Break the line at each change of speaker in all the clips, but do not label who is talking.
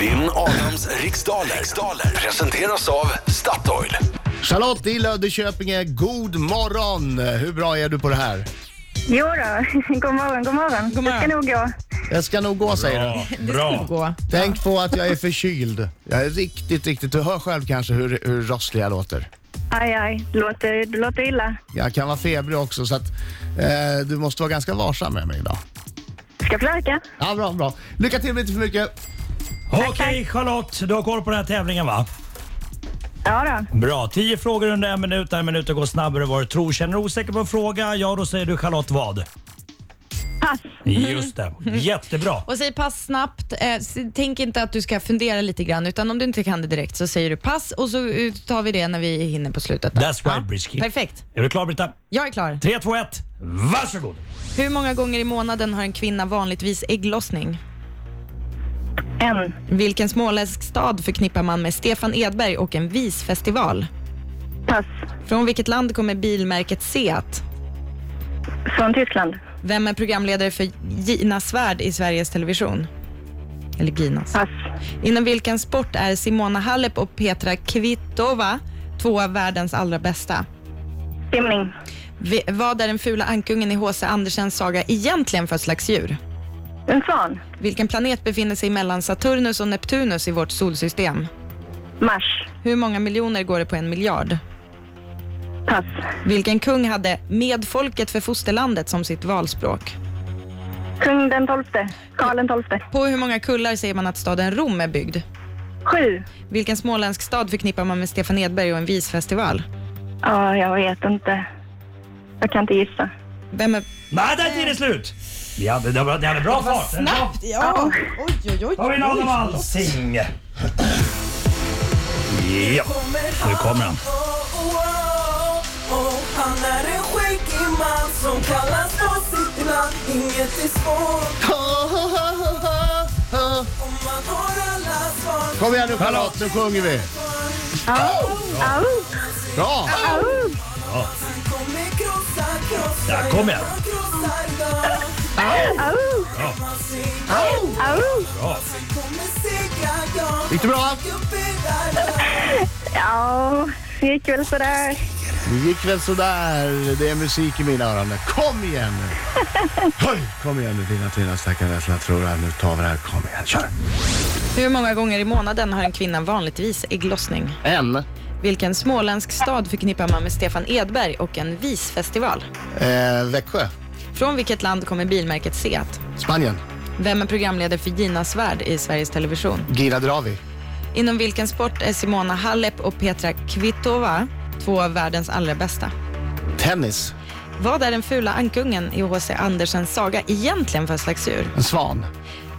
Vinn Adams riksdaler. riksdaler presenteras av Statoil.
Charlotte i Löddeköpinge, god morgon! Hur bra är du på det här?
Jo då. god morgon, god morgon.
God morgon.
Det ska nog gå.
Jag ska nog gå säger du.
Bra.
Gå.
Tänk på att jag är förkyld. Jag är riktigt, riktigt... Du hör själv kanske hur, hur rosslig jag låter.
Aj, aj, det låter, det låter illa.
Jag kan vara febrig också så att eh, du måste vara ganska varsam med mig idag.
Ska försöka.
Ja, bra, bra. Lycka till med inte för mycket.
Okej Charlotte, du har koll på den här tävlingen va?
Ja då.
Bra. 10 frågor under en minut. En minut går snabbare än vad du tror. Känner du osäker på en fråga, ja då säger du Charlotte vad?
Pass.
Just det. Jättebra.
Och säg pass snabbt. Eh, s- tänk inte att du ska fundera lite grann, utan om du inte kan det direkt så säger du pass och så eh, tar vi det när vi hinner på slutet. då.
That's right, Brisky.
Perfekt.
Är du klar Britta?
Jag är klar.
3, 2, 1. Varsågod.
Hur många gånger i månaden har en kvinna vanligtvis ägglossning?
En.
Vilken småländsk stad förknippar man med Stefan Edberg och en visfestival?
Pass.
Från vilket land kommer bilmärket Seat?
Från Tyskland.
Vem är programledare för Gina Svärd i Sveriges Television? Eller Ginas.
Pass.
Inom vilken sport är Simona Halep och Petra Kvitova två av världens allra bästa?
Simning.
Vi, vad är den fula ankungen i H.C. Andersens saga egentligen för slags djur?
En svan.
Vilken planet befinner sig mellan Saturnus och Neptunus i vårt solsystem?
Mars.
Hur många miljoner går det på en miljard?
Pass.
Vilken kung hade med folket för fosterlandet som sitt valspråk?
Kung den tolfte. Karl den tolfte.
På hur många kullar säger man att staden Rom är byggd?
Sju.
Vilken småländsk stad förknippar man med Stefan Edberg och en visfestival?
Ja, jag vet inte. Jag kan inte gissa.
Vem är...
Nej, där är tiden slut. Vi hade, det, var, det hade bra fart. Snabbt!
Ja! Oj, oj, oj.
Har vi en Adam Alsing? Ja, nu kommer han.
Han är en skäggig man som kallas på sitt namn Inget är svårt om man har alla svar
Kom igen nu Charlotte, nu sjunger vi.
Au! Au!
Bra!
Au!
Han kommer krossa, krossa
Där kom jag.
Han krossar idag
Au!
Man ser-
Au!
Han kommer segra, ja
Gick det bra?
Gubben där,
Ja, det gick väl sådär.
Det gick väl sådär. Det är musik i mina öron. Kom igen nu. Höj, Kom igen nu dina fina stackare rädsla tror jag. Nu tar vi det här. Kom igen, kör.
Hur många gånger i månaden har en kvinna vanligtvis ägglossning?
En.
Vilken småländsk stad förknippar man med Stefan Edberg och en visfestival?
Eh, Växjö.
Från vilket land kommer bilmärket Seat?
Spanien.
Vem är programledare för Gina Svärd i Sveriges Television?
Gira Dravi.
Inom vilken sport är Simona Halep och Petra Kvitova två av världens allra bästa?
Tennis.
Vad är den fula ankungen i H.C. Andersens saga egentligen för slags djur?
En svan.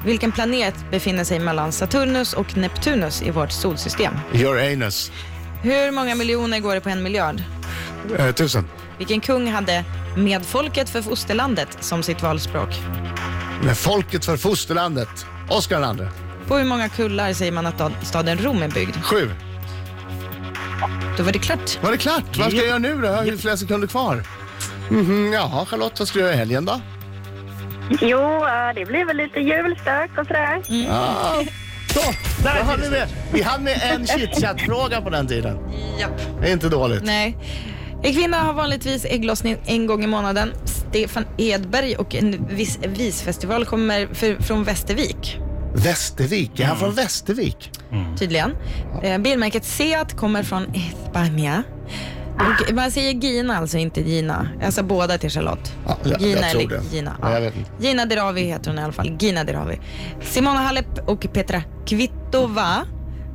Vilken planet befinner sig mellan Saturnus och Neptunus i vårt solsystem?
Uranus.
Hur många miljoner går det på en miljard?
Eh, tusen.
Vilken kung hade med folket för fosterlandet som sitt valspråk?
Med folket för fosterlandet. Oscar II.
På hur många kullar säger man att da- staden Rom är byggd?
Sju.
Då var det klart.
Var det klart? Vad ska jag göra nu då? Jag har ju flera sekunder kvar. Mhm, jaha, Charlotte, vad ska du göra i helgen då?
Jo, ja, det blir väl lite julstök och sådär.
Ah, så, där hann vi med. Vi hann med en chitchat-fråga på den tiden.
Japp.
Det är inte dåligt.
Nej. En kvinna har vanligtvis ägglossning en gång i månaden. Stefan Edberg och en vis, visfestival kommer för, från Västervik,
Västervik. Är han från Västervik?
tydligen. Eh, bilmärket Seat kommer från Espanja. Och man säger Gina, alltså inte Gina. Jag sa båda till Charlotte.
Ja, jag- jag
Gina
tror
eller
det.
Gina.
Ja, jag vet inte.
Gina Dirawi heter hon i alla fall. Gina Dirawi. Simona Halep och Petra Kvitova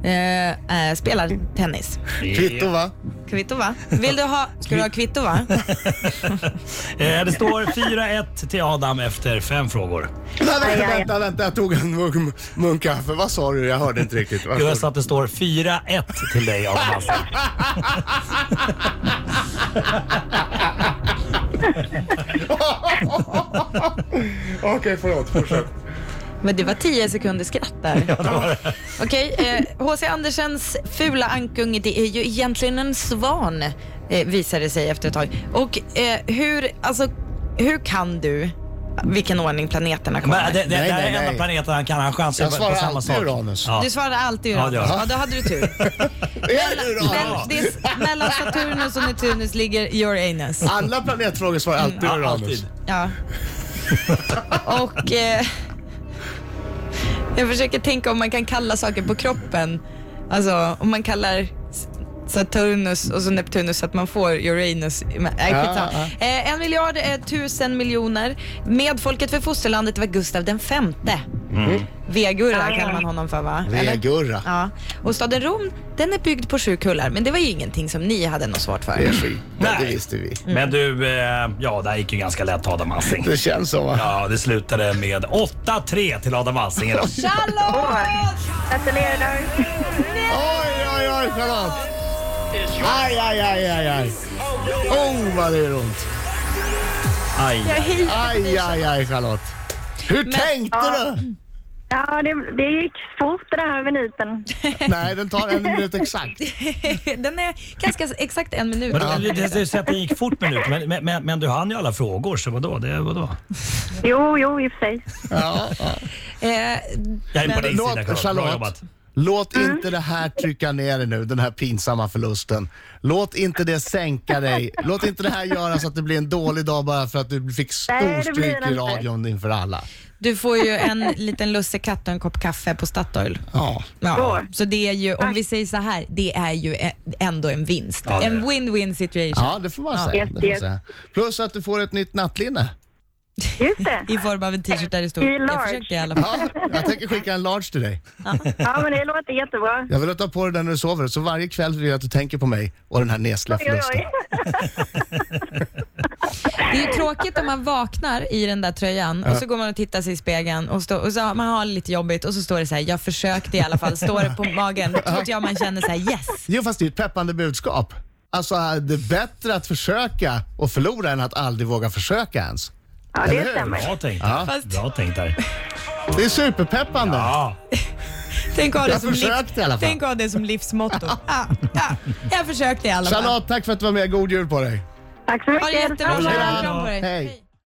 eh, eh,
Mm.
spelar tennis.
Kvitto va?
Kvitova. Vill du ha, ska du ha Kvitova?
Eh, Det står 4-1 till Adam efter fem frågor.
Nej,
Aj,
vänta,
aj, aj.
vänta, vänta. Jag tog en munk- munkkaffe. Vad sa du? Jag hörde inte riktigt. Vad
Jag
sa
sa att det står 4-1 till dig Adam Alsing.
du? Okej, förlåt. Fortsätt.
Men det var 10 sekunder skratt där. Okej, eh, H.C. Andersens fula ankung, det är ju egentligen en svan, eh, visade det sig efter ett tag. Och eh, hur, alltså, hur kan du vilken ordning planeterna kommer.
Men det, det,
Nej,
det här
nej,
är enda
nej.
planeten han kan. Han chansar
Jag
på,
svarar
på samma
alltid
sak.
Uranus.
Ja.
Du svarade alltid
Ja, det
Uranus.
gör jag.
Ja, då hade du tur.
Är det
Men
Uranus?
det är, mellan Saturnus och Neptunus ligger Uranus.
Alla planetfrågor svarar Mm. alltid
Ja,
Uranus.
alltid.
Ja. Och eh, jag försöker tänka om man kan kalla saker på kroppen. Alltså om man kallar S- Saturnus och så Neptunus så att man får Uranus. Men, Nej,
Ja,
skitsamma. Eh, en miljard eh, tusen miljoner. Medfolket för fosterlandet var Gustav den femte.
Mm.
Vegurra kallar man honom för va? Eller?
Vegurra.
Ja. Och staden Rom, den är byggd på sju kullar. Men det var ju ingenting som ni hade något svårt för.
Det är skit. Men det
Nej.
visste vi.
Men du, eh, ja det här gick ju ganska lätt Adam Alsing.
Det känns så va?
Ja, det slutade med 8-3 till Adam Alsing idag.
Charlotte!
Gratulerar.
Oj, oj, oj Charlotte! Aj, aj, aj, aj, aj. Oh, vad det gör ont.
Aj.
Aj, aj, aj Charlotte. Hur tänkte du?
Ja, det, det gick fort det här med minuten.
Nej, den tar en minut exakt.
Den är ganska exakt en minut.
Men du, det, det, det, det gick fort minut, men, men, men, men du hann ju alla frågor så vadå? Det, vadå?
Jo, jo, i och för sig.
Ja, ja.
Eh,
Jag är på
Men-
din
Låt,
sida Charlotte. Bra
Charlotte,
jobbat.
låt
Mm.
inte det här trycka ner dig nu, den här pinsamma förlusten. Låt inte det sänka dig. Låt inte det här göra så att det blir en dålig dag bara för att du fick
Nej, det blir
storstryk
det
i
inte.
radion inför alla.
du får ju en liten lussekatt och en kopp kaffe på Statoil.
Ja.
Ja,
Så.
så det är ju, om vi säger så här, det är ju ä- ändå en vinst.
Ja, det är
en
det.
win-win situation
ja, det får man säga.
Yes,
Det får man
yes.
säga. Plus att du får ett nytt nattlinne.
Just det.
i form av en t-shirt där det står
I
“Jag
large.
försökte i alla fall”.
Ja, jag tänker skicka en large till dig.
Ja, men det låter jättebra.
Jag vill ta på dig den när du sover, så varje kväll vill jag att du tänker på mig och den här nesliga
Oj, oj,
förlusten.
oj.
Det är ju tråkigt om man vaknar i den där tröjan och så går man och tittar sig i spegeln och, stå, och så har man har lite jobbigt och så står det så här “Jag försökte i alla fall”, står det på magen. Då tror inte jag man känner så här “Yes”.
Jo, fast det är ett peppande budskap. Alltså, det är bättre att försöka och förlora än att aldrig våga försöka ens.
Ja,
Eller
det
hur?
stämmer.
Bra tänkt. Ja.
Fast-
Bra tänkt där.
Det är superpeppande.
Ja.
Tänk att ha det
Jag
som
försökte i alla fall.
Tänk att ha det som livsmotto. Ja, ja, jag försökte i alla fall.
Charlotte, tack för att du var med. God jul på dig.
Tack så
Ha det
mycket.
jättebra.
Hej då.
Kram på dig.
Hej.